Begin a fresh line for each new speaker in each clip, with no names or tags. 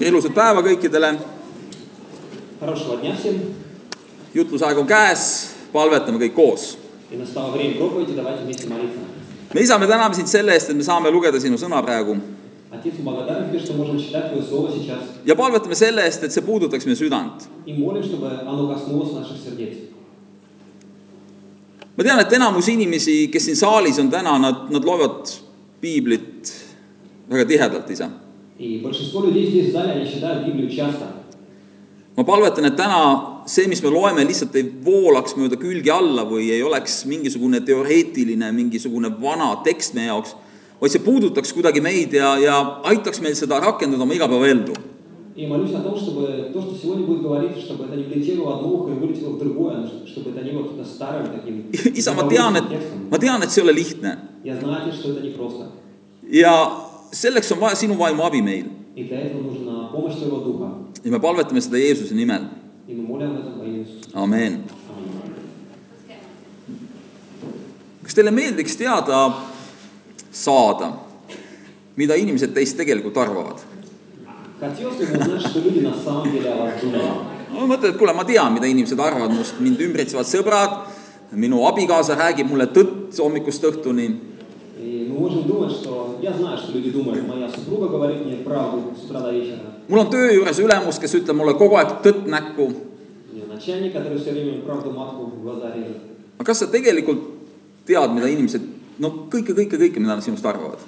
ilusat päeva kõikidele ,
Хорошего дня всем.
jutlusaeg on käes , palvetame kõik koos .
И настало время проповеди, давайте вместе молиться.
me isa , me täname sind selle eest , et me saame lugeda sinu sõna praegu
Отец, мы благодарны Тебе, что можем читать Твое Слово сейчас.
ja palvetame selle eest , et see puudutaks meie südant .
И молим, чтобы оно коснулось наших сердец.
ma tean , et enamus inimesi , kes siin saalis on täna , nad , nad loevad piiblit väga tihedalt , isa .
И большинство людей здесь в зале, они читают Библию часто.
ma palvetan , et täna see , mis me loeme , lihtsalt ei voolaks mööda külgi alla või ei oleks mingisugune teoreetiline , mingisugune vana tekst meie jaoks , vaid see puudutaks kuidagi meid ja , ja aitaks meil seda rakendada oma igapäevaellu .
И молюсь о том, чтобы то, что сегодня будет говориться, чтобы это не влетело в одно ухо и вылетело в другое, но чтобы это не было каким-то старым таким
isa , ma tean , et
текстом.
ma tean , et see ei ole lihtne
Я знаю, Отец, что это непросто.
ja selleks on vaja sinu vaimu abi meil
И для этого нужна помощь Твоего Духа.
ja me palvetame seda Jeesuse nimel ,
И мы молим об этом во имя Иисуса.
ameen .
Аминь.
kas teile meeldiks teada saada , mida inimesed teist tegelikult arvavad ?
Хотелось бы узнать, что люди на самом деле о вас думают.
ma mõtlen , et kuule , ma tean , mida inimesed arvavad minust , mind ümbritsevad sõbrad , minu abikaasa räägib mulle tõtt hommikust õhtuni ,
И мы можем думать, что я знаю, что люди думают, моя супруга говорит мне правду с утра до вечера.
mul on töö juures ülemus , kes ütleb mulle kogu aeg tõtt näkku ,
У меня начальник, который все время правду матку в глаза режет.
aga kas sa tegelikult tead , mida inimesed , noh , kõike , kõike , kõike , mida nad sinust arvavad ?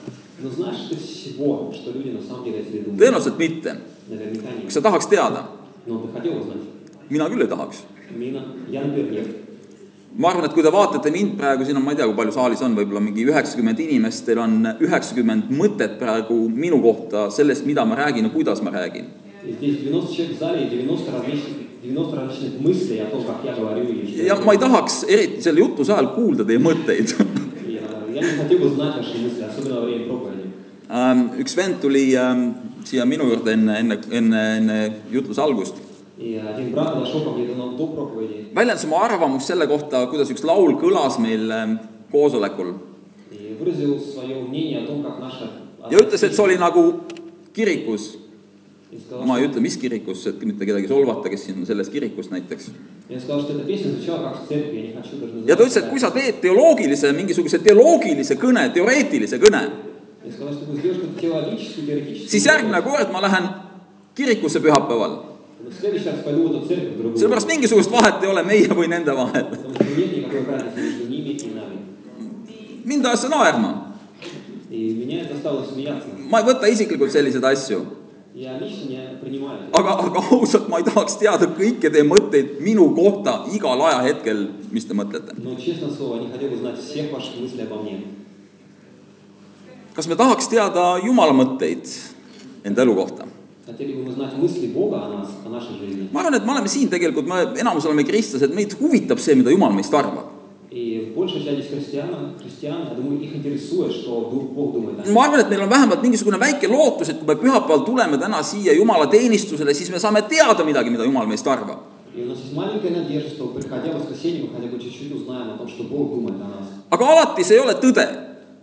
Но знаешь ты всего, что люди на самом деле о тебе думают?
tõenäoliselt mitte .
Наверняка нет.
kas sa tahaks teada ?
Но ты хотел узнать?
mina küll ei tahaks .
Мина, я, например, нет.
ma arvan , et kui te vaatate mind praegu , siin on , ma ei tea , kui palju saalis on , võib-olla mingi üheksakümmend inimest , teil on üheksakümmend mõtet praegu minu kohta sellest , mida ma räägin ja kuidas ma räägin .
И здесь 90 человек в зале и 90 различных, 90 различных мыслей о том, как я говорю или что.
ja ma ei tahaks eriti selle jutluse ajal kuulda teie mõtteid .
Я- э, я не хотел бы знать ваши мысли, особенно во время проповеди.
üks vend tuli ähm, siia minu juurde enne , enne , enne , enne jutluse algust ,
И один брат подошел ко мне на- до проповеди
väljendas oma arvamust selle kohta , kuidas üks laul kõlas meil ähm, koosolekul
и выразил свое мнение о том, как наша...
ja ütles , et see oli nagu kirikus ,
И сказал,
ma ei
что...
ütle , mis kirikus , et mitte kedagi solvata , kes siin on selles kirikus näiteks
Я сказал, что эта песня звучала как в церкви, я не хочу даже называть
ja ta ütles , et
себя.
kui sa teed teoloogilise , mingisuguse teoloogilise kõne , teoreetilise kõne ,
Я сказал, что ты сделаешь какую-то теологическую, теоретическую...
siis järgmine kord ma lähen kirikusse pühapäeval .
Но в следующий раз пойду в эту церковь другую.
sellepärast mingisugust vahet ei ole meie või nende vahel .
Потому что нет никакой разницы между ними и нами.
mind ajas see naerma .
И меня это стало смеяться.
ma ei võta isiklikult selliseid asju ,
Я лично не принимаю это.
aga , aga ausalt , ma ei tahaks teada kõiki teie mõtteid minu kohta igal ajahetkel , mis te mõtlete .
Но, честное слово, не хотел бы знать всех ваших мыслей обо мне.
kas me tahaks teada Jumala mõtteid enda elu kohta ?
Хотели бы мы знать мысли Бога о нас, о нашей жизни.
ma arvan , et me oleme siin tegelikult , me enamus oleme kristlased , meid huvitab see , mida Jumal meist arvab
И большая часть из христиан, христиан, я думаю, их интересует, что Дух- Бог думает о них.
ma arvan , et meil on vähemalt mingisugune väike lootus , et kui me pühapäeval tuleme täna siia Jumala teenistusele , siis me saame teada midagi , mida Jumal meist arvab .
И у нас есть маленькая надежда, что приходя в воскресенье, мы хотя бы чуть-чуть узнаем о том, что Бог думает о нас.
aga alati see ei ole tõde ,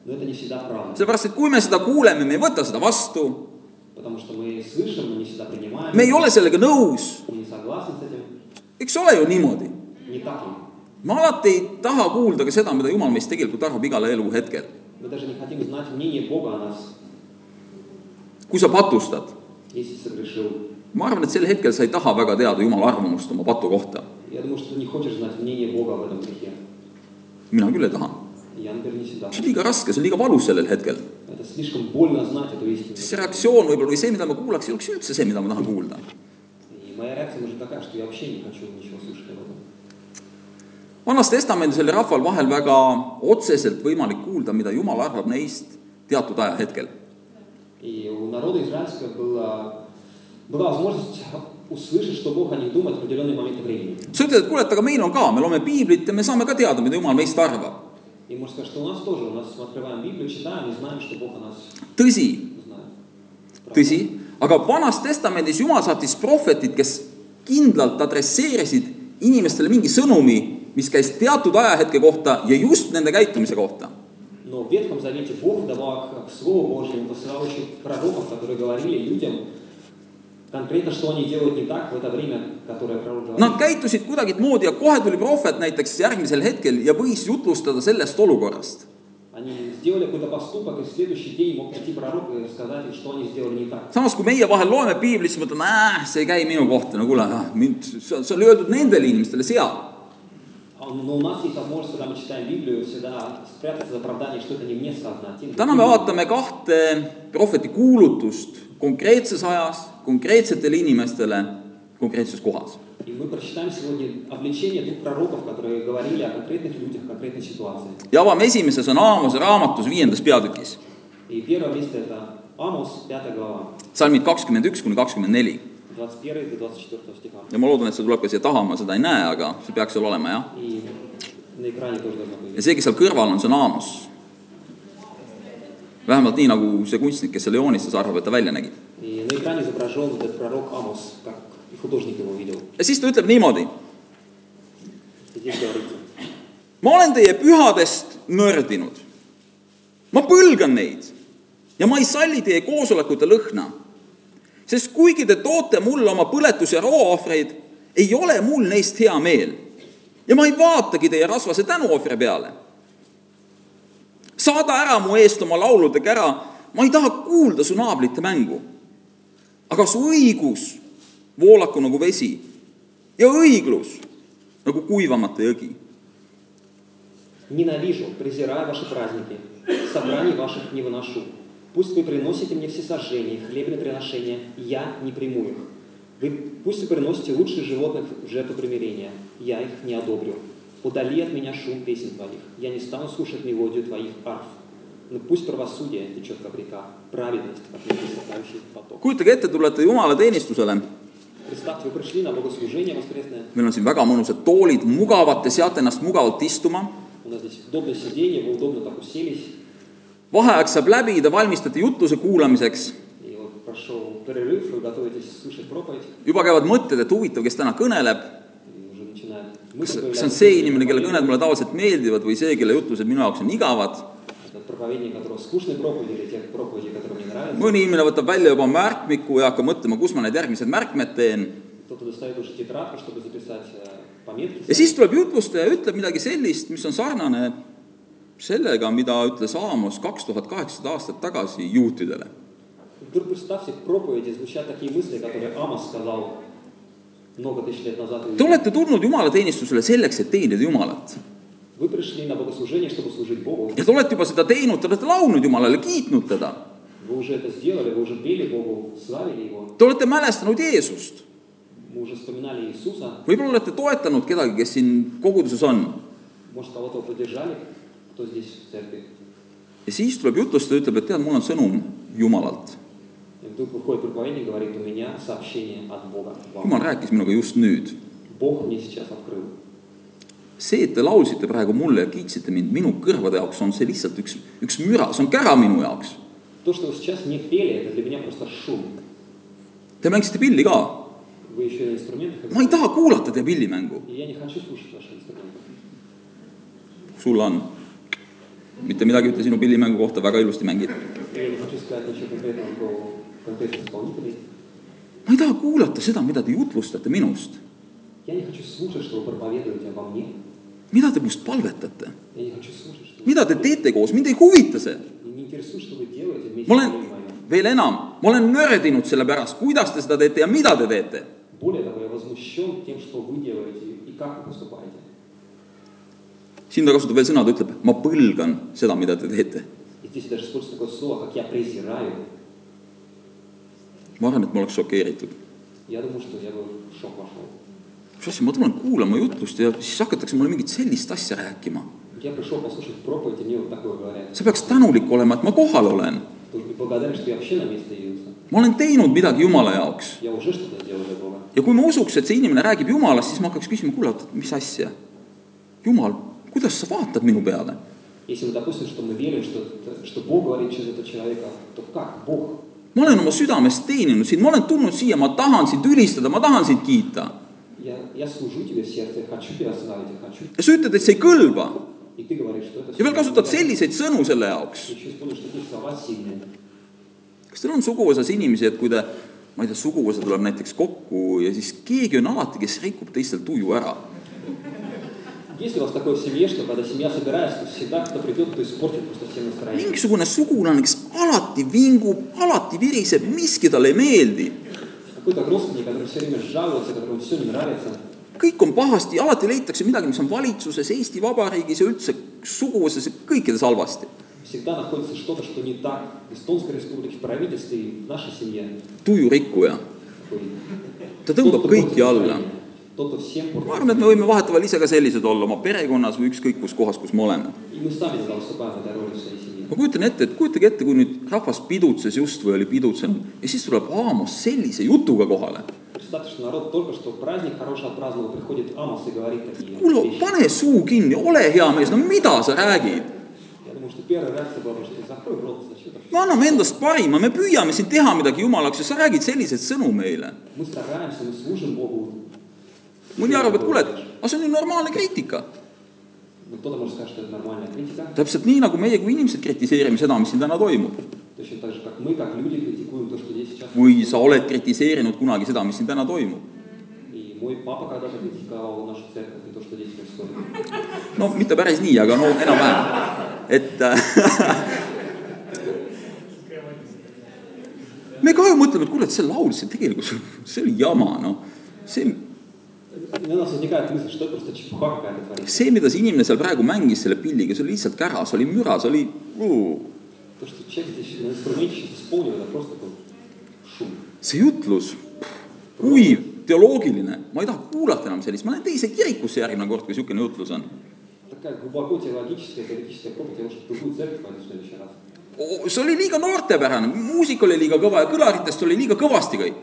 Но это не всегда правда,
sellepärast et kui me seda kuuleme , me ei võta seda vastu ,
потому что мы слышим, но не всегда принимаем,
me ei ole sellega nõus ,
мы не согласны с этим.
eks ole ju niimoodi .
Не так ли?
me alati ei taha kuulda ka seda , mida Jumal meist tegelikult arvab igal eluhetkel .
Мы даже не хотим знать мнение Бога о нас,
kui sa patustad ,
если согрешил.
ma arvan , et sel hetkel sa ei taha väga teada Jumala arvamust oma patu kohta .
Я думаю, что ты не хочешь знать мнение Бога в этом грехе.
mina küll ei taha .
Я, например, не всегда.
see on liiga raske , see on liiga valus sellel hetkel .
Это слишком больно знать эту
see
истину.
reaktsioon võib-olla või see , mida ma kuulaks , ei oleks üldse see , mida ma tahan kuulda
И моя реакция может такая, что я вообще не хочу ничего слышать об этом.
vanas Testamendis oli rahval vahel väga otseselt võimalik kuulda , mida Jumal arvab neist teatud ajahetkel .
И у народа израильского была, была возможность услышать, что Бог о них думает в определенный момент времени.
sa ütled , et kuule , et aga meil on ka , me loeme piiblit ja me saame ka teada , mida Jumal meist arvab .
И можно сказать, что у нас тоже, у нас мы открываем Библию, читаем и знаем, что Бог о нас
tõsi ,
знает. Правда.
tõsi , aga vanas Testamendis Jumal saatis prohvetid , kes kindlalt adresseerisid inimestele mingi sõnumi , mis käis teatud ajahetke kohta ja just nende käitumise kohta .
Но в Ветхом Завете Бог давал к, к Слову Божьему, посылал еще пророков, которые говорили людям конкретно, что они делают не так в это время, которое пророк говорит.
Nad käitusid kuidagimoodi ja kohe tuli prohvet näiteks järgmisel hetkel ja võis jutlustada sellest olukorrast .
Они сделали какой-то поступок, и в следующий день мог прийти пророк и рассказать им, что они сделали не так.
samas , kui meie vahel loeme piiblit , siis mõtleme , äh , see ei käi minu kohta , no kuule , mind , see on , see on löödud nendele inimestele seal .
А у- Но у нас есть возможность, когда мы читаем Библию, всегда спрятаться за оправдание, что это не мне сказано, а тем, кто
täna me
именно.
vaatame kahte prohveti kuulutust konkreetses ajas , konkreetsetele inimestele , konkreetses kohas .
И мы прочитаем сегодня обличение двух пророков, которые говорили о конкретных людях, конкретной ситуации.
ja avame esimese sõna Aamose raamatus viiendas peatükis ,
И первое место это Амос, 5 глава,
salmid kakskümmend üks kuni kakskümmend neli
21 до 24 стиха.
ja ma loodan , et see tuleb ka siia taha , ma seda ei näe , aga see peaks seal olema , jah .
И на экране тоже должно
ja
быть.
see , kes seal kõrval on , see on Aamos . vähemalt nii , nagu see kunstnik , kes selle joonistas , arvab , et ta välja nägi .
И на экране изображен вот этот пророк Амос, как и художник его видел.
ja siis ta ütleb niimoodi
И здесь говорится.
ma olen teie pühadest nördinud . ma põlgan neid ja ma ei salli teie koosolekute lõhna . sest kuigi te toote mulle oma põletus- ja rooahvreid , ei ole mul neist hea meel . ja ma ei vaatagi teie rasvase tänuohvri peale . saada ära mu eest oma laulude kära , ma ei taha kuulda su naabrite mängu . aga su õigus voolaku nagu vesi ja õiglus nagu kuivamata jõgi
Ненавижу, презираю ваши праздники, собраний ваших не выношу. Пусть вы приносите мне все сожжения, хлебные приношения, я не приму их. Вы, пусть вы приносите лучших животных в жертву примирения, я их не одобрю. Удали от меня шум песен твоих, я не стану слушать мелодию твоих арф. Но пусть правосудие течет как река, праведность как непресыхающий поток.
kujutage ette , tulete jumalateenistusele ,
Представьте, вы пришли на богослужение воскресное,
meil on siin väga mõnusad toolid , mugavad , te seate ennast mugavalt istuma ,
у нас здесь удобное сиденье, вы удобно так уселись,
vaheaeg saab läbi , te valmistate jutluse kuulamiseks ,
и вот прошел перерыв, вы готовитесь слушать проповедь,
juba käivad mõtted , et huvitav , kes täna kõneleb ,
И уже начинает
kas
мысль
kas see on
появляться.
see inimene , kelle kõned mulle tavaliselt meeldivad või see , kelle jutlused minu jaoks on igavad ,
Это проповедник, у которого скучные проповеди, или те проповеди, которые мне нравятся.
mõni inimene võtab välja juba märkmiku ja hakkab mõtlema , kus ma need järgmised märkmed teen ,
Кто-то достает уже тетрадку, чтобы записать э, пометки.
ja siis tuleb jutlustaja ja ütleb midagi sellist , mis on sarnane sellega , mida ütles Aamos kaks tuhat kaheksasada aastat tagasi juutidele
Вдруг представьте, в проповеди звучат такие мысли, которые Амос сказал много тысяч лет назад.
Te olete tulnud jumalateenistusele selleks , et teenida Jumalat .
Вы пришли на богослужение, чтобы служить Богу.
ja te olete juba seda teinud , te olete laulnud Jumalale , kiitnud teda .
Вы уже это сделали, вы уже пели Богу, славили Его.
Te olete mälestanud Jeesust .
Мы уже вспоминали Иисуса,
võib-olla olete toetanud kedagi , kes siin koguduses on .
может, кого-то поддержали, кто здесь в церкви.
ja siis tuleb jutlustaja , ütleb , et tead , mul on sõnum Jumalalt .
И вдруг выходит проповедник и говорит, у меня сообщение от Бога. вам».
Jumal rääkis minuga just nüüd .
Бог мне сейчас открыл.
see , et te laulsite praegu mulle ja kiitsite mind minu kõrvade jaoks , on see lihtsalt üks , üks müra , see on kära minu jaoks .
То, что вы сейчас не пели, это для меня просто шум.
Te mängisite pilli ka .
Вы еще и на инструментах
ma ei
играете.
taha kuulata teie pillimängu .
И я не хочу слушать ваши инструменты.
sul on . mitte midagi ei ütle sinu pillimängu kohta , väga ilusti mängid
И я не хочу сказать ничего конкретного про конкретных исполнителей.
ma ei taha kuulata seda , mida te jutlustate minust ,
Я не хочу слушать, что вы проповедуете обо мне.
mida te must palvetate ,
Я не хочу слушать, что вы...
mida te teete koos , mind ei huvita see .
Меня не интересует, что вы делаете вместе
ma
с
olen
моим моим.
veel enam , ma olen nördinud selle pärast , kuidas te seda teete ja mida te teete .
Более того, я возмущен тем, что вы делаете и как вы поступаете.
siin ta kasutab veel sõna , ta ütleb , ma põlgan seda , mida te teete .
И здесь даже используется такое слово, как «я презираю».
ma arvan , et ma oleks šokeeritud .
Я думаю, что я бы в шок вошел.
mis asja , ma tulen kuulama jutlust ja siis hakatakse mulle mingit sellist asja rääkima .
Я пришел послушать проповедь, и мне вот такое говорят.
sa peaks tänulik olema , et ma kohal olen .
И благодарен, что я вообще на месте явился.
ma olen teinud midagi Jumala jaoks .
Я уже что-то сделал для Бога.
ja kui ma usuks , et see inimene räägib Jumalast , siis ma hakkaks küsima , kuule , oot , mis asja ? Jumal , kuidas sa vaatad minu peale ?
Если мы допустим, что мы верим, что, что Бог говорит через этого человека, то как Бог?
ma olen oma südamest teeninud sind , ma olen tulnud siia , ma tahan sind ülistada , ma tahan sind kiita .
Я, я служу тебе в сердце, я хочу тебя славить, я хочу.
ja sa ütled , et see ei kõlba
И ты говоришь, что это...
ja veel kasutad
Я
selliseid sõnu selle jaoks .
еще используешь такие слова сильные.
kas teil on suguvõsas inimesi , et kui te ma ei tea, suguvõsa tuleb näiteks kokku ja siis keegi on alati, kes rikub teistel tuju ära.
Есть ли у вас такое в семье, что когда семья собирается, то всегда кто придет, кто испортит просто всем настроение?
mingisugune sugulane , kes alati vingub , alati viriseb , miski talle ei meeldi .
Какой-то родственник, который все время жалуется, которому все не нравится.
kõik on pahasti , alati leitakse midagi , mis on valitsuses , Eesti Vabariigis ja üldse suguvõsas ja kõikides halvasti .
Всегда находится что-то, что не так в Эстонской республике, в правительстве и в нашей семье.
tujurikkuja ,
Такой.
ta tõmbab kõiki
портит
alla .
настроение, Тот, кто всем портит
ma arvan , et me võime vahetevahel ise ka sellised olla oma perekonnas või ükskõik kus kohas , kus me oleme .
И мы сами тогда выступаем в этой роли в своей семье.
ma kujutan ette , et kujutage ette , kui nüüd rahvas pidutses just või oli pidutsenud ja siis tuleb Aamos sellise jutuga kohale .
Представьте, что народ только что праздник хороший отпраздновал, приходит Амос и говорит такие
kuule ,
вещи.
pane suu kinni , ole hea mees , no mida sa räägid ?
Я думаю, что первая реакция была, бы, что закрой рот, зачем так?
me anname endast parima , me püüame siin teha midagi jumalaks ja sa räägid selliseid sõnu meile .
Мы стараемся, мы служим Богу.
mõni arvab , et kuule , et aga see on ju normaalne kriitika .
Но ну, кто-то может сказать, что это нормальная критика.
täpselt nii , nagu meie kui inimesed kritiseerime seda , mis siin täna toimub .
Точно так же, как мы, как люди, критикуем то, что здесь сейчас.
või sa oled kritiseerinud kunagi seda , mis siin täna toimub .
И мой папа когда-то критиковал нашу церковь и то, что здесь происходит.
no mitte päris nii , aga no enam-vähem . et äh, me ka ju mõtleme , et kuule , et see laul , see tegelikult , see oli jama , noh . see ,
И у нас возникает мысль, что это просто чепуха какая-то творится.
see , mida see inimene seal praegu mängis selle pilliga , see oli lihtsalt kära , see oli müra , see oli
То, что человек здесь на инструменте сейчас исполнил, это просто был шум.
see jutlus , kuiv , teoloogiline , ma ei taha kuulata enam sellist , ma lähen teise kirikusse järgmine kord , kui niisugune jutlus on .
Такая глубоко теологическая, теоретическая проповедь, я лучше в другую церковь пойду в следующий раз.
see oli liiga noortepärane , muusika oli liiga kõva ja kõlaritest oli liiga kõvasti kõik .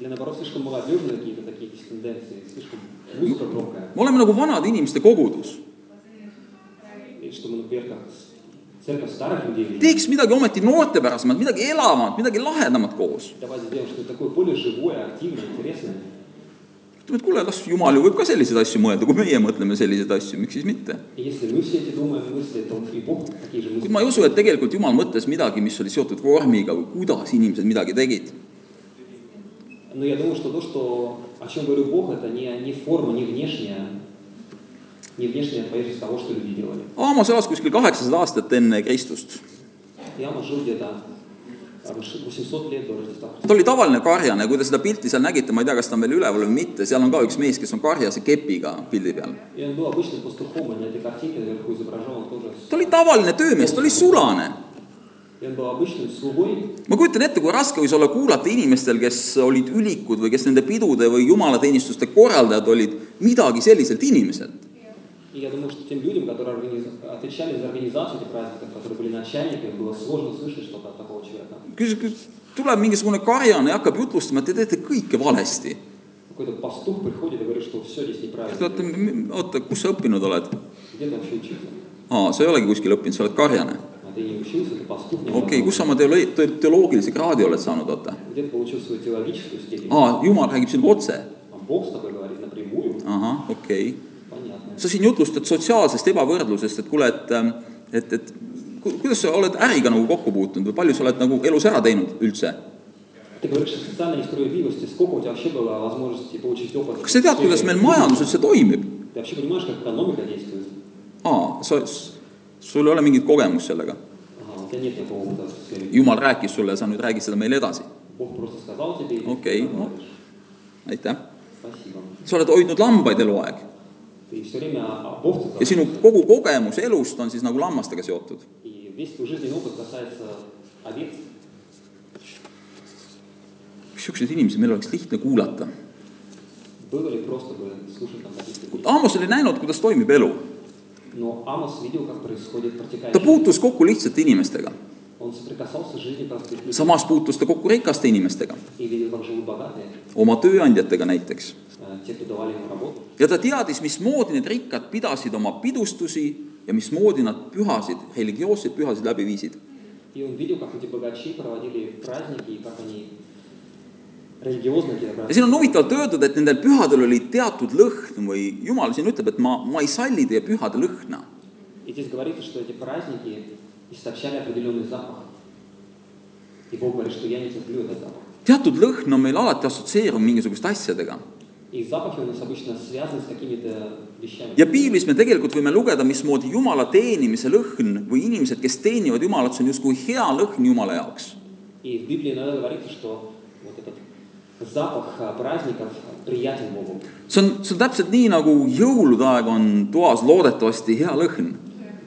Или наоборот, слишком молодежные какие-то такие есть тенденции, слишком музыка громкая.
me oleme nagu vanade inimeste kogudus .
И что мы, например, как с- церковь старых людей видим.
teeks midagi ometi noortepärasemat , midagi elavat , midagi lahedamat koos .
Давайте сделаем что-то такое более живое, активное, интересное.
ütleme , et kuule , las jumal ju võib ka selliseid asju mõelda , kui meie mõtleme selliseid asju , miks siis mitte .
И если мы все эти думаем мысли, то и Бог такие же мысли.
kuid ma ei usu , et tegelikult jumal mõtles midagi , mis oli seotud vormiga või kuidas inimesed midagi tegid .
Но я думаю, что то, что, о чем говорил Бог, это не, не форма, не внешняя, не внешняя поверхность того, что люди делали.
Aamos elas kuskil kaheksasada aastat enne Kristust .
Яма жил где-то а, 800 лет до Рождества Христова.
ta oli tavaline karjane , kui te seda pilti seal nägite , ma ei tea , kas ta on veel üleval või mitte , seal on ka üks mees , kes on karjase kepiga pildi peal .
И он был обычным пастухом, и на этой картинке наверху изображен он тоже. с-
ta oli tavaline töömees , ta oli sulane
И он был обычным слугой,
ma kujutan ette , kui raske võis olla kuulata inimestel , kes olid ülikud või kes nende pidude või jumalateenistuste korraldajad olid , midagi selliselt inimeselt .
И я думаю, что тем людям, которые организ- отвечали за организацию этих праздников, которые были начальниками, было сложно слышать что-то от такого человека.
küsib , tuleb mingisugune karjane ja hakkab jutlustama , et te teete kõike valesti .
Какой-то пастух приходит и говорит, что все здесь неправильно.
oota , oota , kus sa õppinud oled ?
Где ты вообще учился?
aa , sa ei olegi kuskil õppinud , sa oled karjane .
А ты не учился, ты пастух не
okei okay, ,
образован.
kus sa oma teolo- , te- teoloogilise kraadi oled saanud , oota ?
Где ты получил свою теологическую степень?
aa , jumal räägib sinuga otse .
А Бог с тобой говорит напрямую?
ahah , okei okay. .
Понятно.
sa siin jutlustad sotsiaalsest ebavõrdlusest , et kuule , et , et , et ku- kuidas sa oled äriga nagu kokku puutunud või palju sa oled nagu elus ära teinud üldse ?
Ты говоришь о социальной несправедливости. Сколько у тебя вообще было возможности получить опыт?
kas sa tead , kuidas meil majandus üldse toimib ?
Ты вообще понимаешь, как экономика действует?
aa , sa , sul ei ole mingit kogemust sellega ?
Ага, у тебя нет такого опыта. в сфере.
jumal rääkis sulle ja sa nüüd räägid seda meile edasi .
Бог просто сказал тебе. и ты
Окей,
так
ну.
говоришь.
aitäh .
Спасибо.
sa oled hoidnud lambaid eluaeg
Ты все время об овце
ja sinu
заботишься.
kogu kogemus elust on siis nagu lammastega seotud .
И весь твой жизненный опыт касается овец.
niisuguseid inimesi meil oleks lihtne kuulata .
Было ли просто бы слушать там каких-то людей?
Aamos oli näinud , kuidas toimib elu .
Но Амос видел, как происходит
ta
протекающее.
puutus kokku lihtsate inimestega ,
Он соприкасался с жизнью простых людей
samas puutus ta kokku rikaste inimestega
и видел, как живут богатые,
oma tööandjatega näiteks .
э, те, кто давали ему работу.
ja ta teadis , mismoodi need rikkad pidasid oma pidustusi ja mismoodi nad pühasid , religioosseid pühasid läbi viisid .
И он видел, как эти богачи проводили праздники и как они религиозные
ja
какие-то праздники.
siin on huvitavalt öeldud , et nendel pühadel oli teatud lõhn või jumal siin ütleb , et ma , ma ei salli teie pühade lõhna .
И здесь говорится, что эти праздники источали определенный запах. И Бог говорит, что я не терплю этот запах.
teatud lõhn on meil alati assotsieeruv mingisuguste asjadega
И запахи у нас обычно связаны с какими-то вещами.
ja piiblis me tegelikult võime lugeda , mismoodi Jumala teenimise lõhn või inimesed , kes teenivad Jumalat , see on justkui hea lõhn Jumala jaoks .
И в Библии иногда говорится, что вот этот запах а, праздников приятен Богу.
see on , see on täpselt nii , nagu jõulude aeg on toas loodetavasti hea lõhn .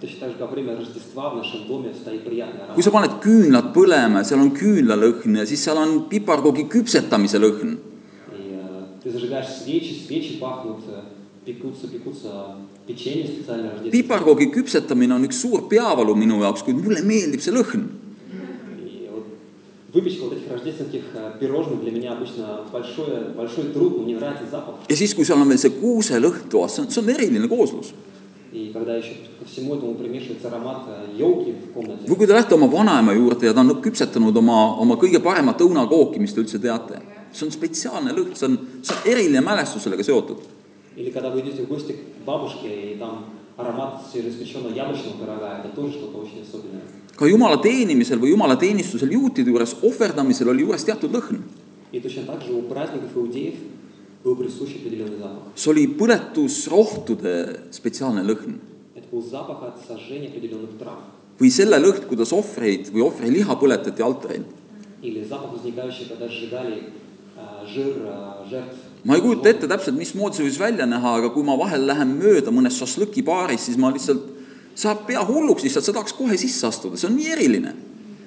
Точно так же, как во время Рождества в нашем доме стоит приятный аромат.
kui sa paned küünlad põlema ja seal on küünlalõhn ja siis seal on piparkoogi küpsetamise lõhn ,
И э, ты зажигаешь свечи, свечи пахнут, э, пекутся, пекутся печенье специально рождественское.
piparkoogi küpsetamine on üks suur peavalu minu jaoks , kuid mulle meeldib see lõhn .
И вот выпечка вот этих рождественских э, пирожных для меня обычно большой, большой труд, но мне нравится запах.
ja siis , kui seal on veel see kuuselõhn toas , see on , see on eriline kooslus .
И когда еще ко всему этому примешивается аромат а, елки в комнате,
või kui te lähete oma vanaema juurde ja ta on küpsetanud oma , oma kõige paremat õunakooki , mis te üldse teate . see on spetsiaalne lõhn , see on , see on eriline mälestus sellega seotud .
или когда вы идете в гости к бабушке, и там аромат свежеиспеченного яблочного пирога, это тоже что-то очень особенное.
ka jumala teenimisel või jumala teenistusel juutide juures ohverdamisel oli juures teatud lõhn .
И точно так же у праздников иудеев был присущ определенный запах.
see oli põletusrohtude spetsiaalne lõhn
Это был запах от сожжения определенных трав.
või selle lõhn , kuidas ohvreid või ohvriliha põletati altaril .
Или запах, возникающий, когда сжигали а, жир а, жертв.
ma ei kujuta ette täpselt , mismoodi see võis välja näha , aga kui ma vahel lähen mööda mõnes šašlõki baaris , siis ma lihtsalt , saab pea hulluks lihtsalt , sa tahaks kohe sisse astuda , see on nii eriline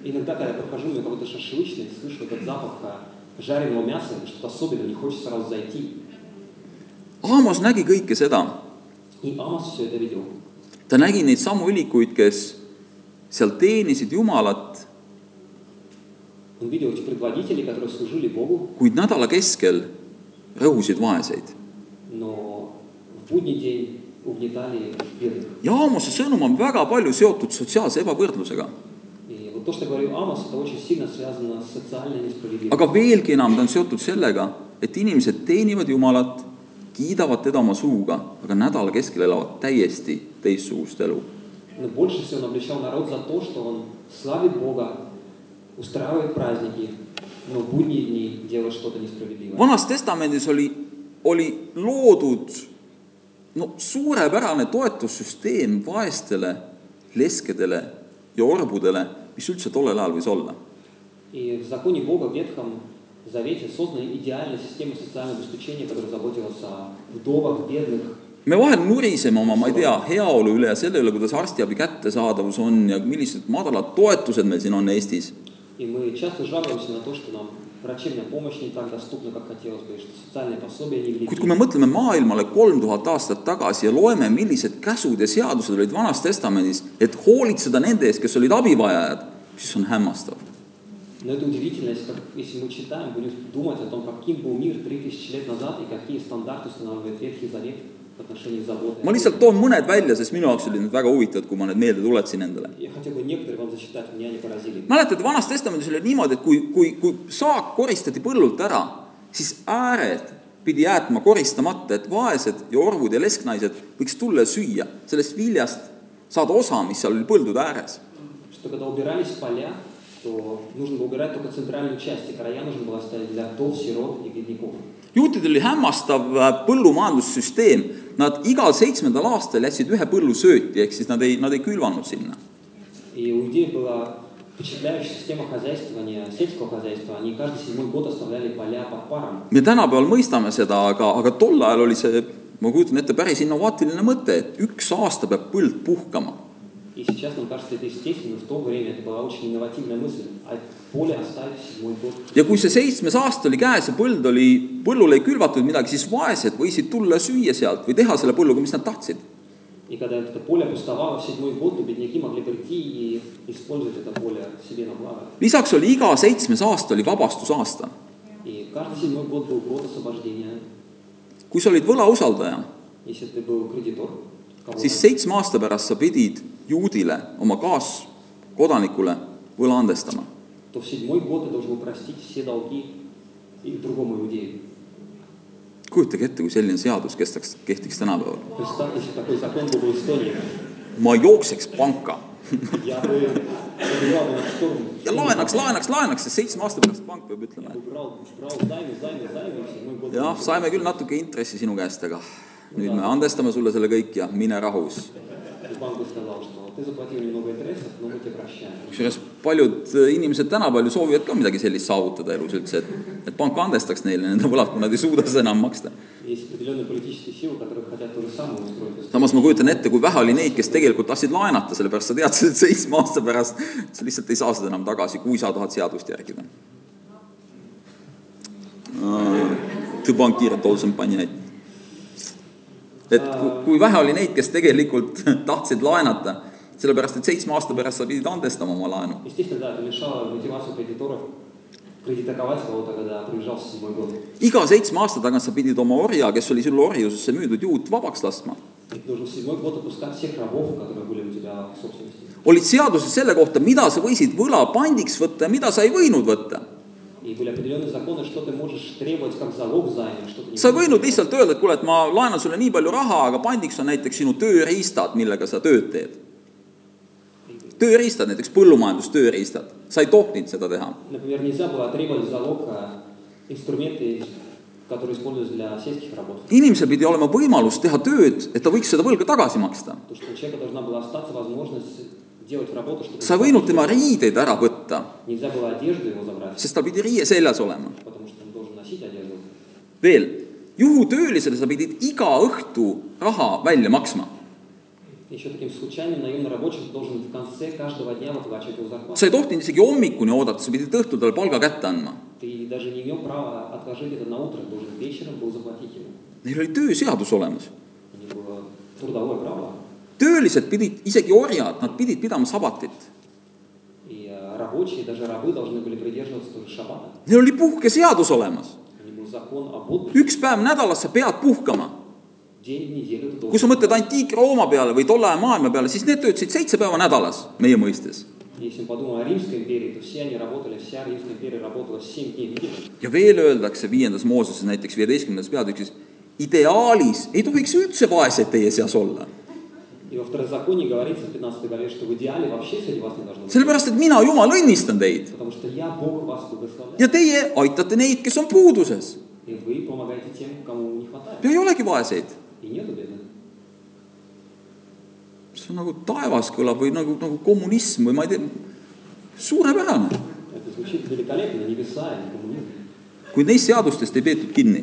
Иногда, когда я прохожу на какой-то шашлычный, слышу этот запах а, жареного мяса, что-то особенное, не хочется сразу зайти.
Aamos nägi kõike seda ,
И Амос все это видел.
ta nägi neid samu ülikuid , kes seal teenisid Jumalat ,
Он видел этих предводителей, которые служили Богу,
kuid nädala keskel rõhusid vaeseid .
но в будний день угнетали бедных.
ja Aamose sõnum on väga palju seotud sotsiaalse ebavõrdlusega .
И вот то, что говорил Амос, это очень сильно связано с социальной несправедливостью.
aga veelgi enam , ta on seotud sellega , et inimesed teenivad Jumalat , kiidavad teda oma suuga , aga nädala keskel elavad täiesti teistsugust elu .
Но больше всего он обличал народ за то, что он славит Бога, устраивает праздники, но в будние дни делает что-то несправедливое.
vanas Testamendis oli , oli loodud no suurepärane toetussüsteem vaestele , leskedele ja orbudele , mis üldse tollel ajal võis olla .
И в законе Бога в Ветхом Завете создана идеальная система социального обеспечения, которая заботилась о вдовах, бедных.
me vahel nuriseme oma , ma ei tea , heaolu üle ja selle üle , kuidas arstiabi kättesaadavus on ja millised madalad toetused meil siin on Eestis .
И мы часто жалуемся на то, что нам врачебная помощь не так доступна, как хотелось бы, и что социальные пособия не
kuid kui me
велики.
mõtleme maailmale kolm tuhat aastat tagasi ja loeme , millised käsud ja seadused olid Vanas Testamendis , et hoolitseda nende eest , kes olid abivajajad , siis on hämmastav .
Но это удивительно, если, как- если мы читаем, будем думать о том, каким был мир 3000 лет назад и какие стандарты устанавливает Ветхий Завет в отношении заботы.
ma lihtsalt toon mõned välja , sest minu jaoks olid need väga huvitavad , kui ma need meelde tuletasin endale .
Я хотел бы некоторые вам зачитать, меня они поразили.
mäletate , Vanas Testamendis oli niimoodi , et kui , kui , kui saak koristati põllult ära , siis ääred pidi jäetma koristamata , et vaesed ja orvud ja lesknaised võiks tulla ja süüa sellest viljast , saada osa , mis seal oli põldude ääres .
Что когда убирались поля, то нужно было убирать только центральную часть, и края нужно было оставить для вдов, сирот и бедняков.
juutidel oli hämmastav äh, põllumajandussüsteem , nad igal seitsmendal aastal jätsid ühe põllu sööti , ehk siis nad ei , nad ei külvanud sinna .
И у иудеев была впечатляющая система хозяйствования, сельского хозяйства. Они каждый седьмой год оставляли поля под паром.
me tänapäeval mõistame seda , aga , aga tol ajal oli see , ma kujutan ette , päris innovaatiline mõte , et üks aasta peab põld puhkama .
И сейчас нам кажется это естественно, но в то время это была очень инновативная мысль. А поле оставить седьмой год.
ja kui see seitsmes aasta oli käes ja põld oli , põllul ei külvatud midagi , siis vaesed võisid tulla ja süüa sealt või teha selle põlluga , mis nad tahtsid .
И когда это поле пустовало в седьмой год, то бедняки могли прийти и использовать это поле себе на благо.
lisaks oli iga seitsmes aasta oli vabastusaasta .
И каждый седьмой год был год освобождения.
kui sa olid võlausaldaja ,
Если ты был кредитор, кого-то,
siis seitsme aasta pärast sa pidid juudile , oma kaaskodanikule võla andestama .
то в седьмой год ты должен был простить все долги и другому иудею.
kujutage ette , kui selline seadus kestaks , kehtiks tänapäeval .
Представьте, если такой закон был в Эстонии.
ma jookseks panka .
Я бы Он брал бы на шторму.
ja laenaks , laenaks , laenaks ja seitsme aasta pärast pank peab ütlema , et
Брал, брал займы, займы, займы, и седьмой год.
jah , saime küll natuke intressi sinu käest , aga nüüd me andestame sulle selle kõik ja mine rahus
И банку сказал, что «А ты заплатил немного интересов, но мы тебе прощаем.
kusjuures paljud inimesed tänapäeval ju soovivad ka midagi sellist saavutada elus üldse , et et pank andestaks neile nende võlad , kui nad ei suuda seda enam maksta .
Есть определенные политические силы, которые хотят то же самое устроить.
samas ma kujutan ette , kui vähe oli neid , kes tegelikult tahtsid laenata , sellepärast sa teadsid , et seitsme aasta pärast sa lihtsalt ei saa seda enam tagasi , kui sa tahad seadust järgida . Äh, et kui- kui vähe oli neid , kes tegelikult tahtsid laenata , sellepärast et seitsme aasta pärast sa pidid andestama oma laenu .
Естественно, да, это лишало мотивацию кредиторов кредитаковать кого-то, когда приближался седьмой год.
iga seitsme aasta tagant sa pidid oma orja , kes oli sulle orjusesse müüdud , juut vabaks laskma .
И ты должен в седьмой год отпускать всех рабов, которые были у тебя в собственности.
olid seadused selle kohta , mida sa võisid võla pandiks võtta ja mida sa ei võinud võtta .
И были определенные законы, что ты можешь требовать как залог займа, что ты не
sa ei võinud
можешь.
lihtsalt öelda , et kuule , et ma laenan sulle nii palju raha , aga pandiks on näiteks sinu tööriistad , millega sa tööd teed . tööriistad , näiteks põllumajandustööriistad , sa ei tohtinud seda teha .
Например, нельзя было требовать в залог а, инструменты, которые используются для сельских работ.
inimesel pidi olema võimalus teha tööd , et ta võiks seda võlga tagasi maksta .
Потому что у человека должна была остаться возможность делать работу, чтобы...
sa ei võinud tema riideid ära võtta ,
Нельзя было одежду его забрать,
sest tal пidi riie seljas olema .
потому что он должен носить одежду.
veel , juhutöölisele sa pidid iga õhtu raha välja maksma .
Еще таким случайным наемный рабочий должен в конце каждого дня выплачивать его зарплату.
sa ei tohtinud isegi hommikuni oodata , sa pidid õhtul talle palga kätte andma .
Ты даже не имел права отложить это на утро, ты должен вечером был заплатить ему.
Neil oli tööseadus olemas .
У него было трудовое право.
töölised pidid , isegi orjad , nad pidid pidama sabatit .
И э, рабочие, даже рабы должны были придерживаться тоже шаббата.
Neil oli puhkeseadus olemas .
У них был закон об отдыхе.
üks päev nädalas sa pead puhkama .
День в неделю ты
kui sa
должен.
mõtled antiik-Rooma peale või tolle aja maailma peale , siis need töötasid seitse päeva nädalas meie mõistes .
Если мы подумаем о Римской империи, то все они работали, вся Римская империя работала 7 дней в неделю.
ja veel öeldakse viiendas Mooses näiteks viieteistkümnendas peatükis , ideaalis ei tohiks üldse vaeseid teie seas olla
И во второзаконии говорится в 15 главе, что в идеале вообще среди вас не должно быть.
sellepärast , et mina , Jumal , õnnistan teid
Потому что я, Бог, вас
ja
благословляю.
teie aitate neid , kes on puuduses
И вы помогаете тем, кому не хватает.
ja ei olegi vaeseid .
И нету бедных.
see on nagu taevas kõlab või nagu , nagu kommunism või ma ei tea , suurepärane ,
Это звучит великолепно, небеса и коммунизм.
kuid neist seadustest ei peetud kinni .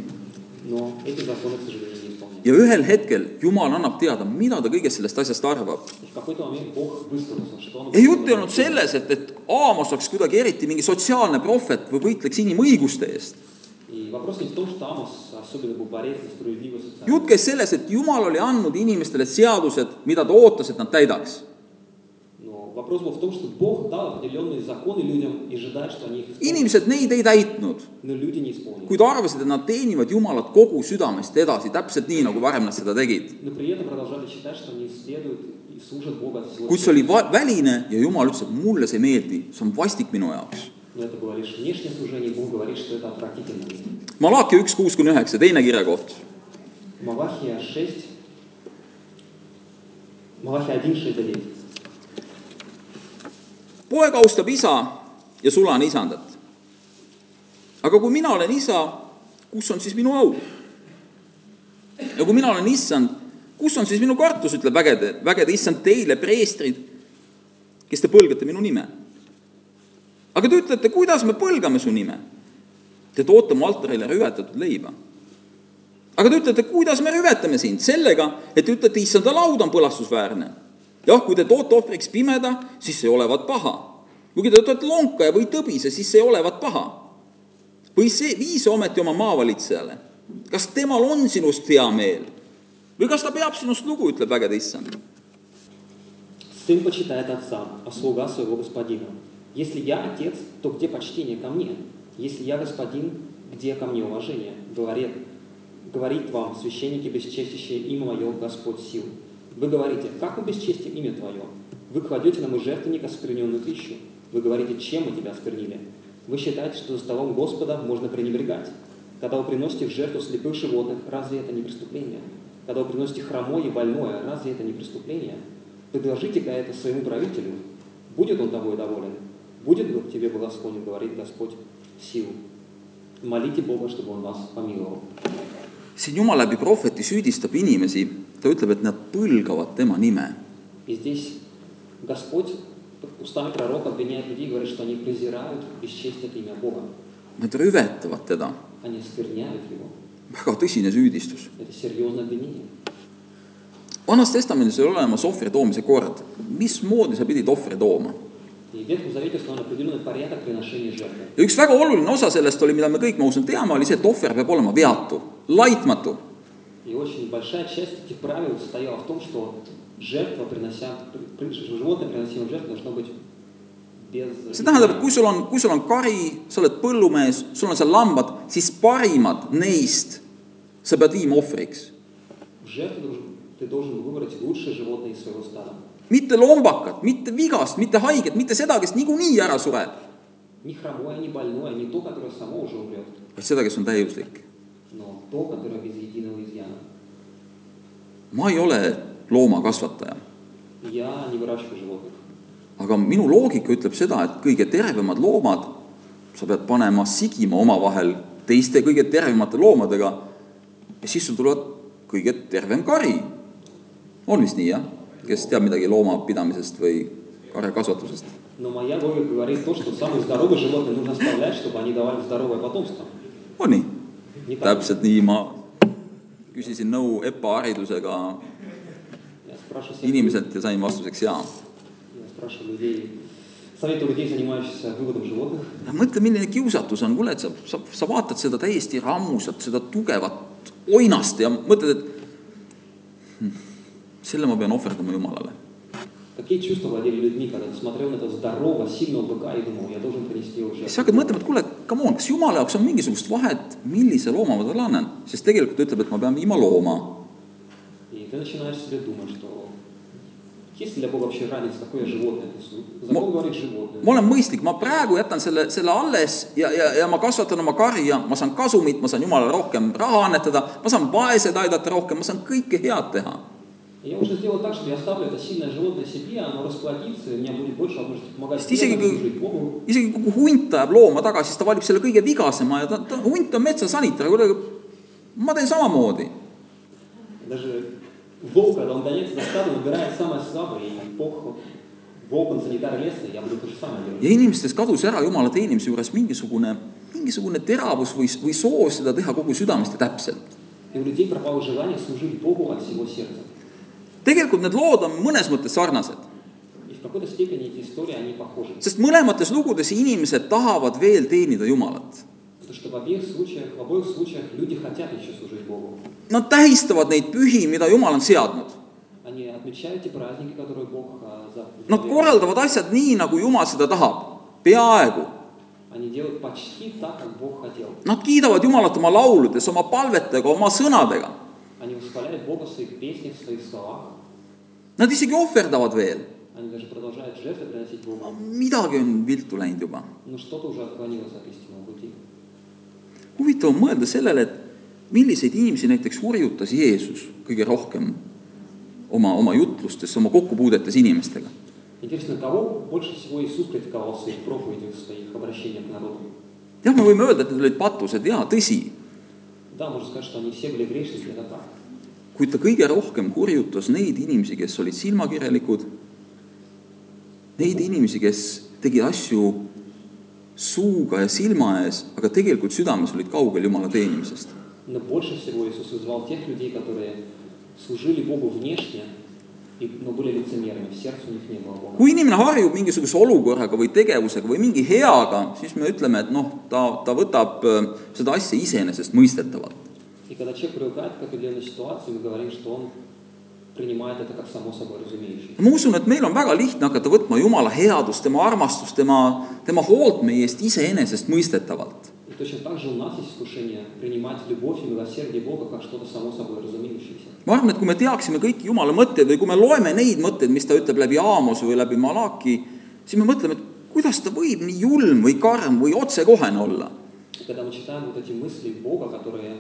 Но эти законы, к сожалению, не исполняются.
ja ühel hetkel Jumal annab teada , mida ta kõigest sellest asjast arvab .
И в какой-то момент Бог высказался, что он...
ei jutt ei olnud selles , et , et Aamos oleks kuidagi eriti mingi sotsiaalne prohvet või võitleks inimõiguste eest .
И вопрос не в том, что Амос особенно был борец за справедливость социальную.
jutt käis selles , et Jumal oli andnud inimestele seadused , mida ta ootas , et nad täidaks .
Но вопрос был в том, что Бог дал определенные законы людям и ожидает, что они их исполнят.
inimesed neid ei täitnud
Но люди не исполнили.
kuid arvasid , et nad teenivad Jumalat kogu südamest edasi , täpselt nii , nagu varem nad seda tegid .
Но при этом продолжали считать, что они следуют и служат Бога от всего
kuid see
сердца.
oli va- , väline ja Jumal ütles , et mulle see ei meeldi , see on vastik minu jaoks .
Но это было лишь внешнее служение, Бог говорит, что это отвратительно.
Malachi üks , kuus kuni üheksa , teine kirjakoht .
Малахия 6, Малахия 1, 6 до 9.
poeg austab isa ja sula on isandat . aga kui mina olen isa , kus on siis minu au ? ja kui mina olen issand , kus on siis minu kartus , ütleb vägede , vägede issand teile , preestrid , kes te põlgate minu nime . aga te ütlete , kuidas me põlgame su nime ? Te toote mu altarile rüvetatud leiba . aga te ütlete , kuidas me rüvetame sind ? sellega , et te ütlete , issanda laud on põlastusväärne . jah , kui te toote ohvriks pimeda , siis see olevat paha . kuigi te toote lonka ja või tõbise , siis see olevat paha . või see , vii see ometi oma maavalitsejale . kas temal on sinust hea meel või kas ta peab sinust lugu , ütleb vägede issand .
Сын почитает отца, а слуга своего господина. Если я отец, то где почтение ко мне? Если я господин, где ко мне уважение? Говорит, говорит вам, священники, бесчестящие имя мое, Господь сил. Вы говорите, как мы бесчестим имя твое? Вы кладете нам и жертвенник оскверненную пищу. Вы говорите, чем мы тебя осквернили? Вы считаете, что за столом Господа можно пренебрегать. Когда вы приносите в жертву слепых животных, разве это не преступление? Когда вы приносите хромое и больное, разве это не преступление? Предложите-ка это своему правителю. Будет он тобой доволен? Будет Бог тебе благосклонен, говорит Господь, в силу. Молите Бога, чтобы он вас помиловал.
siin Jumal läbi prohveti süüdistab inimesi , ta ütleb , et nad põlgavad tema nime .
И здесь Господь устами пророка обвиняет людей и говорит, что они презирают, бесчестят имя Бога.
Nad rüvetavad teda ,
Они оскверняют его.
väga tõsine süüdistus .
Это серьезное обвинение.
vanas Testamendis oli olemas ohvri toomise kord , mismoodi sa pidid ohvri tooma ?
И в Ветхом Завете установлен определенный порядок приношения жертвы.
ja üks väga oluline osa sellest oli , mida me kõik , ma usun , teame , oli see , et ohver peab olema veatu , laitmatu .
И очень большая часть этих правил состояла в том, что жертва, принося, при- при- животное, приносимое в жертву, должно быть без...
see tähendab , et kui sul on , kui sul on kari , sa oled põllumees , sul on seal lambad , siis parimad neist sa pead viima ohvriks .
В жертву должен- ты должен выбрать лучшее животное из своего стада.
mitte lombakat , mitte vigast , mitte haiget , mitte seda , kes niikuinii ära sureb ,
Не хромое, не больное, не то, которое само уже умрет,
vaid seda , kes on täiuslik .
но то, которое без единого изъяна.
ma ei ole loomakasvataja ,
Я не выращиваю животных.
aga minu loogika ütleb seda , et kõige tervemad loomad sa pead panema sigima omavahel teiste kõige tervemate loomadega ja siis sul tulevad kõige tervem kari . on vist nii , jah ? kes teab midagi loomapidamisest või karjakasvatusest ?
Но моя логика говорит то, что самых здоровых животных нужно оставлять, чтобы они давали здоровое потомство.
on nii ?
Не так.
täpselt nii , ma küsisin nõu EPA haridusega
Я спрашиваю всех
inimeselt ja sain vastuseks jaa .
Я спрашиваю людей, советую людей, занимающихся выводом животных,
mõtle , milline kiusatus on , kuule , et sa , sa , sa vaatad seda täiesti rammusat , seda tugevat oinast ja mõtled , et hm, selle ma pean ohverdama Jumalale .
какие чувства владели людьми, когда ты смотрел на этого здорового, сильного быка и думал, я должен принести его в
siis
жертву.
sa hakkad mõtlema , et kuule , come on , kas Jumala jaoks on mingisugust vahet , millise looma ma talle annan , sest tegelikult ta ütleb , et ma pean viima looma .
И ты начинаешь себе думать, что есть ли для Бога вообще разница, какое животное? То есть, ну, Закон
Мо-
говорит животное.
ma olen mõistlik , ma praegu jätan selle , selle alles ja , ja , ja ma kasvatan oma karja , ma saan kasumit , ma saan Jumalale rohkem raha annetada , ma saan vaesed aidata rohkem , ma saan kõike head teha
И я уже сделал так, что я оставлю это сильное животное себе, оно расплодится, и у меня будет больше возможности помогать
Стисяки
бедным,
кы-
служить Богу.
isegi kui hunt ajab looma taga , siis ta valib selle kõige vigasema ja ta, ta , hunt on metsasaniter , aga kuidagi ma teen samamoodi .
Даже волк, когда он гоняется за стадом, выбирает самое слабое, и Бог, волк, он санитар леса, и я буду то же самое делать.
ja inimestes kadus ära Jumala teenimise juures mingisugune , mingisugune teravus või , või soov seda teha kogu südamest ja täpselt .
И у людей пропало желание служить Богу от всего сердца.
tegelikult need lood on mõnes mõttes sarnased ,
И в какой-то степени эти истории, они похожи.
sest mõlemates lugudes inimesed tahavad veel teenida Jumalat .
Потому что в обеих случаях, в обоих случаях люди хотят еще служить Богу.
Nad tähistavad neid pühi , mida Jumal on seadnud .
Они отмечают те праздники, которые Бог а, за-
Nad korraldavad asjad nii , nagu Jumal seda tahab , peaaegu .
Они делают почти так, как Бог хотел.
Nad kiidavad Jumalat oma lauludes , oma palvetega , oma sõnadega
Они восхваляют Бога в своих песнях, в своих словах.
Nad isegi ohverdavad veel .
Они даже продолжают жертвы приносить Богу.
midagi on viltu läinud juba .
Но что-то уже отклонилось от истинного пути.
huvitav on mõelda sellele , et milliseid inimesi näiteks hurjutas Jeesus kõige rohkem oma , oma jutlustes , oma kokkupuudetes inimestega .
Интересно, кого больше всего Иисус критиковал в своих проповедях, в своих обращениях к народу?
jah , me võime öelda , et need olid patused , jaa , tõsi ,
Да, можно сказать, что они все были грешники, это так.
kuid ta kõige rohkem hurjutas neid inimesi , kes olid silmakirjalikud , neid inimesi , kes tegid asju suuga ja silma ees , aga tegelikult südames olid kaugel Jumala teenimisest .
Но больше всего Иисус вызвал тех людей, которые служили Богу внешне, и- но были лицемерами, в сердце у них не было Бога.
kui inimene harjub mingisuguse olukorraga või tegevusega või mingi heaga , siis me ütleme , et noh , ta , ta võtab öö, seda asja iseenesestmõistetavalt .
И когда человек привыкает к определенной ситуации, мы говорим, что он принимает это как само собой разумеющее.
ma usun , et meil on väga lihtne hakata võtma Jumala headust , tema armastust , tema , tema hoolt meie eest iseenesestmõistetavalt .
И точно так же у нас есть искушение принимать любовь и милосердие Бога как что-то само собой разумеющееся.
ma arvan , et kui me teaksime kõiki Jumala mõtteid või kui me loeme neid mõtteid , mis ta ütleb läbi Aamose või läbi Malaki , siis me mõtleme , et kuidas ta võib nii julm või karm või otsekohene olla
И когда мы читаем вот эти мысли Бога, которые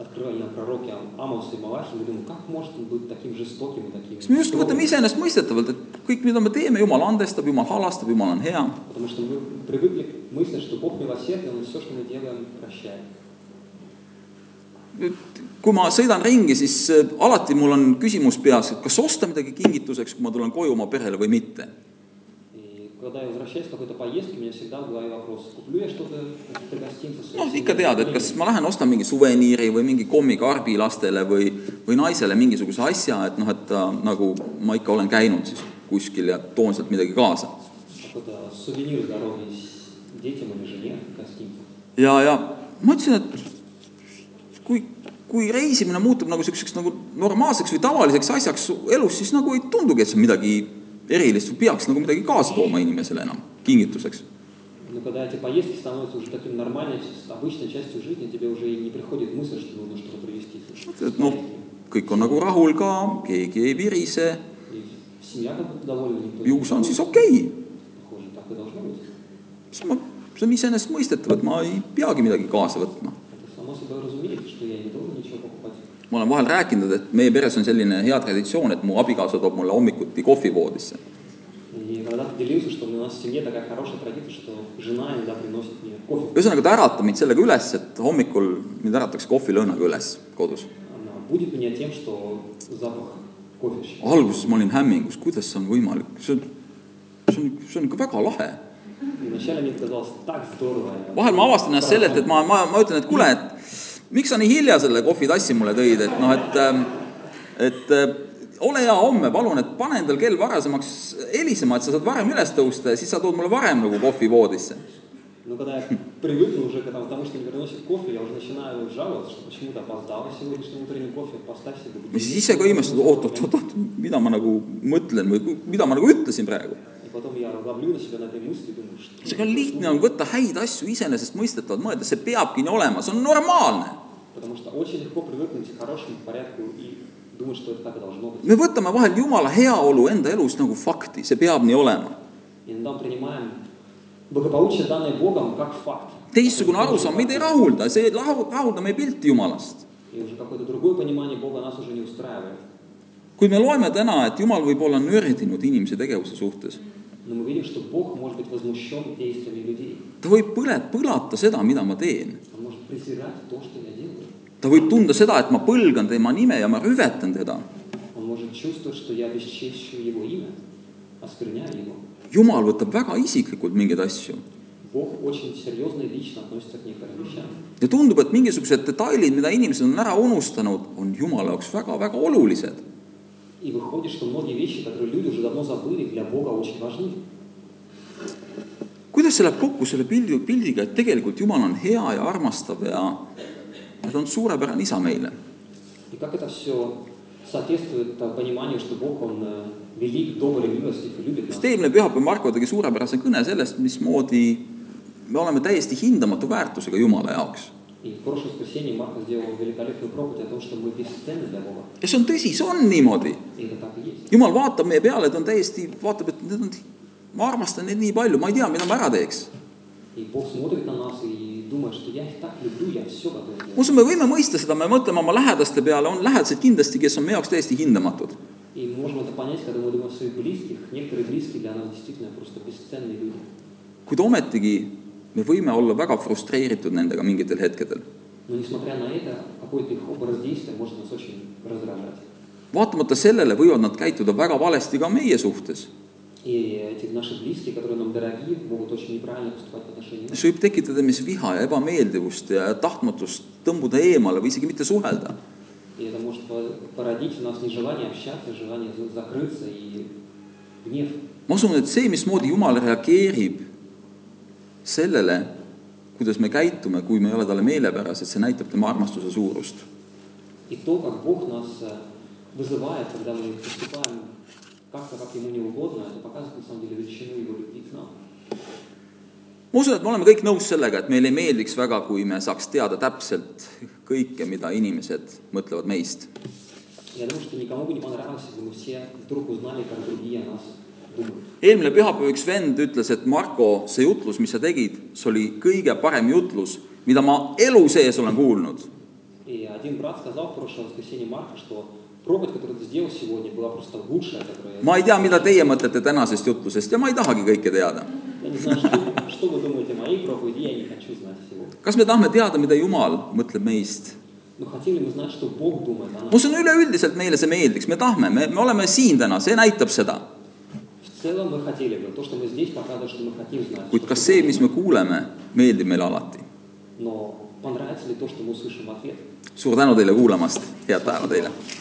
откровения пророки Ам- Амоса и Малахи, мы думаем, как может он быть таким жестоким и таким
siis me justkui
строгим?
võtame iseenesestmõistetavalt , et kõik , mida me teeme , Jumal andestab , Jumal halastab , Jumal on hea .
Потому что мы привыкли к мысли, что Бог милосердный, Он все, что мы делаем, прощает.
nüüd kui ma sõidan ringi , siis äh, alati mul on küsimus peas , et kas osta midagi kingituseks , kui ma tulen koju oma perele või mitte .
И когда я возвращаюсь с какой-то поездки, у меня всегда в голове вопрос, куплю я что-то для гостинца?
noh ,
собственными
ikka tead , et
деньгами?
kas ma lähen ostan mingi suveniiri või mingi kommikarbi lastele või , või naisele mingisuguse asja , et noh , et ta nagu ma ikka olen käinud siis kuskil ja toon sealt midagi kaasa .
Какой-то сувенир с дороги с детям или жене гостинца.
ja , ja ma ütlesin , et kui , kui reisimine muutub nagu niisuguseks nagu normaalseks või tavaliseks asjaks su elus , siis nagu ei tundugi , et see on midagi erilist või peaks nagu midagi kaasa tooma inimesele enam kingituseks
Но когда эти поездки становятся уже таким нормальной, с- обычной частью жизни, тебе уже и не приходит мысль, что нужно что-то привезти.
et noh , kõik on nagu rahul ka , keegi ei virise
И семья как будто довольна. никто не
ju see on
жалуется.
siis okei okay. .
Похоже, так и должно быть.
siis ma , see on iseenesestmõistetav , et ma ei peagi midagi kaasa võtma .
Это само собой разумеется, что я не должен ничего покупать.
ma olen vahel rääkinud , et meie peres on selline hea traditsioon , et mu abikaasa toob mulle hommikuti kohvivoodisse .
И когда-то делился, что у нас в семье такая хорошая традиция, что жена иногда приносит мне кофе.
ühesõnaga , ta äratab mind sellega üles , et hommikul mind äratatakse kohvilõõnaga üles kodus .
Она будет меня тем, что запах кофе. щ-
alguses ma olin hämmingus , kuidas see on võimalik , see on , see on , see on ikka väga lahe
И Вначале мне это казалось так здорово. Я-
vahel ma avastan ennast sellelt , et ma , ma , ma ütlen , et kuule , et miks sa nii hilja selle kohvitassi mulle tõid , et noh , et ähm, et äh, ole hea homme , palun , et pane endal kell varasemaks helisema , et sa saad varem üles tõusta ja siis sa tood mulle varem nagu kohvivoodisse .
Но когда я привыкну уже к этому, потому что мне приносит кофе, я уже начинаю жаловаться, что почему-то опоздала сегодняшний утренний кофе, поставь себе
ma
будильник.
siis ise ka imestasin , oot-oot-oot , mida ma nagu mõtlen või ku- mida ma nagu ütlesin praegu .
И потом я ловлю на себя на этой мысли, думаю, что...
seega on lihtne on võtta häid asju iseenesestmõistetavalt mõelda , see peabki nii olema , see on normaalne .
Потому что очень легко привыкнуть к хорошему порядку и думать, что это так и должно быть.
me võtame vahel Jumala heaolu enda elus nagu fakti , see peab nii olema
Иногда мы принимаем благополучие, данное Богом, как факт.
teistsugune arusaam meid ei rahulda , see ei lahu- rahulda meie pilti Jumalast .
И уже какое-то другое понимание Бога нас уже не устраивает.
kui me loeme täna , et Jumal võib olla nördinud inimese tegevuse suhtes ,
Но мы видим, что Бог может быть возмущен действиями людей.
ta võib põle , põlata seda , mida ma teen .
Он может презирать то, что я делаю.
ta võib tunda seda , et ma põlgan tema nime ja ma rüvetan teda .
Он может чувствовать, что я бесчещу его имя, оскверняю его.
Jumal võtab väga isiklikult mingeid asju
Бог очень серьезно и лично относится к некоторым вещам.
ja tundub , et mingisugused detailid , mida inimesed on ära unustanud , on Jumala jaoks väga-väga olulised .
И выходит, что многие вещи, которые люди уже давно забыли, для Бога очень важны.
kuidas see läheb kokku selle pildi , pildiga , et tegelikult Jumal on hea ja armastav ja ja ta on suurepärane isa meile
И как это все соответствует э, пониманию, что Бог, Он э, велик, добр и милостив и любит нас.
just eelmine pühapäev Marko tegi suurepärase kõne sellest , mismoodi me oleme täiesti hindamatu väärtusega Jumala jaoks .
И в прошлое воскресенье Марк сделал великолепную проповедь о том, что мы бесценны для Бога.
ja see on tõsi , see on niimoodi .
И это так и есть.
Jumal vaatab meie peale , ta on täiesti , vaatab , et need on , ma armastan neid nii palju , ma ei tea , mida ma ära teeks .
И Бог смотрит на нас и думает, что я их так люблю, я все готов
ma
делать.
usun , me võime mõista seda , me mõtleme oma lähedaste peale , on lähedased kindlasti , kes on meie jaoks täiesti hindamatud .
И мы можем это понять, когда мы думаем о своих близких. Некоторые близкие для нас действительно просто бесценные люди.
kuid ometigi me võime olla väga frustreeritud nendega mingitel hetkedel .
Но несмотря на это, какой-то их образ действия может нас очень раздражать.
vaatamata sellele võivad nad käituda väga valesti ka meie suhtes .
И эти наши близкие, которые нам дорогие, могут очень неправильно поступать по отношению к нам.
see võib tekitada mis viha ja ebameeldivust ja tahtmatust tõmbuda eemale või isegi mitte suhelda .
И это может по- породить у нас нежелание общаться, желание за- закрыться и гнев.
ma usun , et see , mismoodi Jumal reageerib sellele , kuidas me käitume , kui me ei ole talle meelepärased , see näitab tema armastuse suurust .
И то, как Бог нас э, вызывает, когда мы поступаем как-то, как Ему не угодно, это показывает на самом деле величину Его любви к нам.
ma usun , et me oleme kõik nõus sellega , et meile ei meeldiks väga , kui me saaks teada täpselt kõike , mida inimesed mõtlevad meist .
Я думаю, что никому бы не понравилось, если бы мы все вдруг узнали, как другие о нас думают.
eelmine pühapäev üks vend ütles , et Marko , see jutlus , mis sa tegid , see oli kõige parem jutlus , mida ma elu sees olen kuulnud
И И один брат сказал в прошлое воскресенье Марка, что проповедь, которую ты сделал сегодня, была просто лучшая, которую я...
ma ei tea , mida teie mõtlete tänasest jutlusest ja ma ei tahagi kõike teada .
Я не знаю, что, что вы думаете о моей проповеди, я не хочу знать всего.
kas me tahame teada , mida Jumal mõtleb meist ?
Но хотим ли мы знать, что Бог думает о
ma
нас?
usun , üleüldiselt meile see meeldiks , me tahame , me , me oleme siin täna , see näitab seda .
В целом мы хотели бы. То, что мы здесь, показывает, что мы хотим знать.
kuid
что
kas see , mis
Бог
me kuuleme , meeldib meile alati ?
думает. Но понравится ли то, что мы услышим в ответ?
suur tänu teile kuulamast , head päeva teile !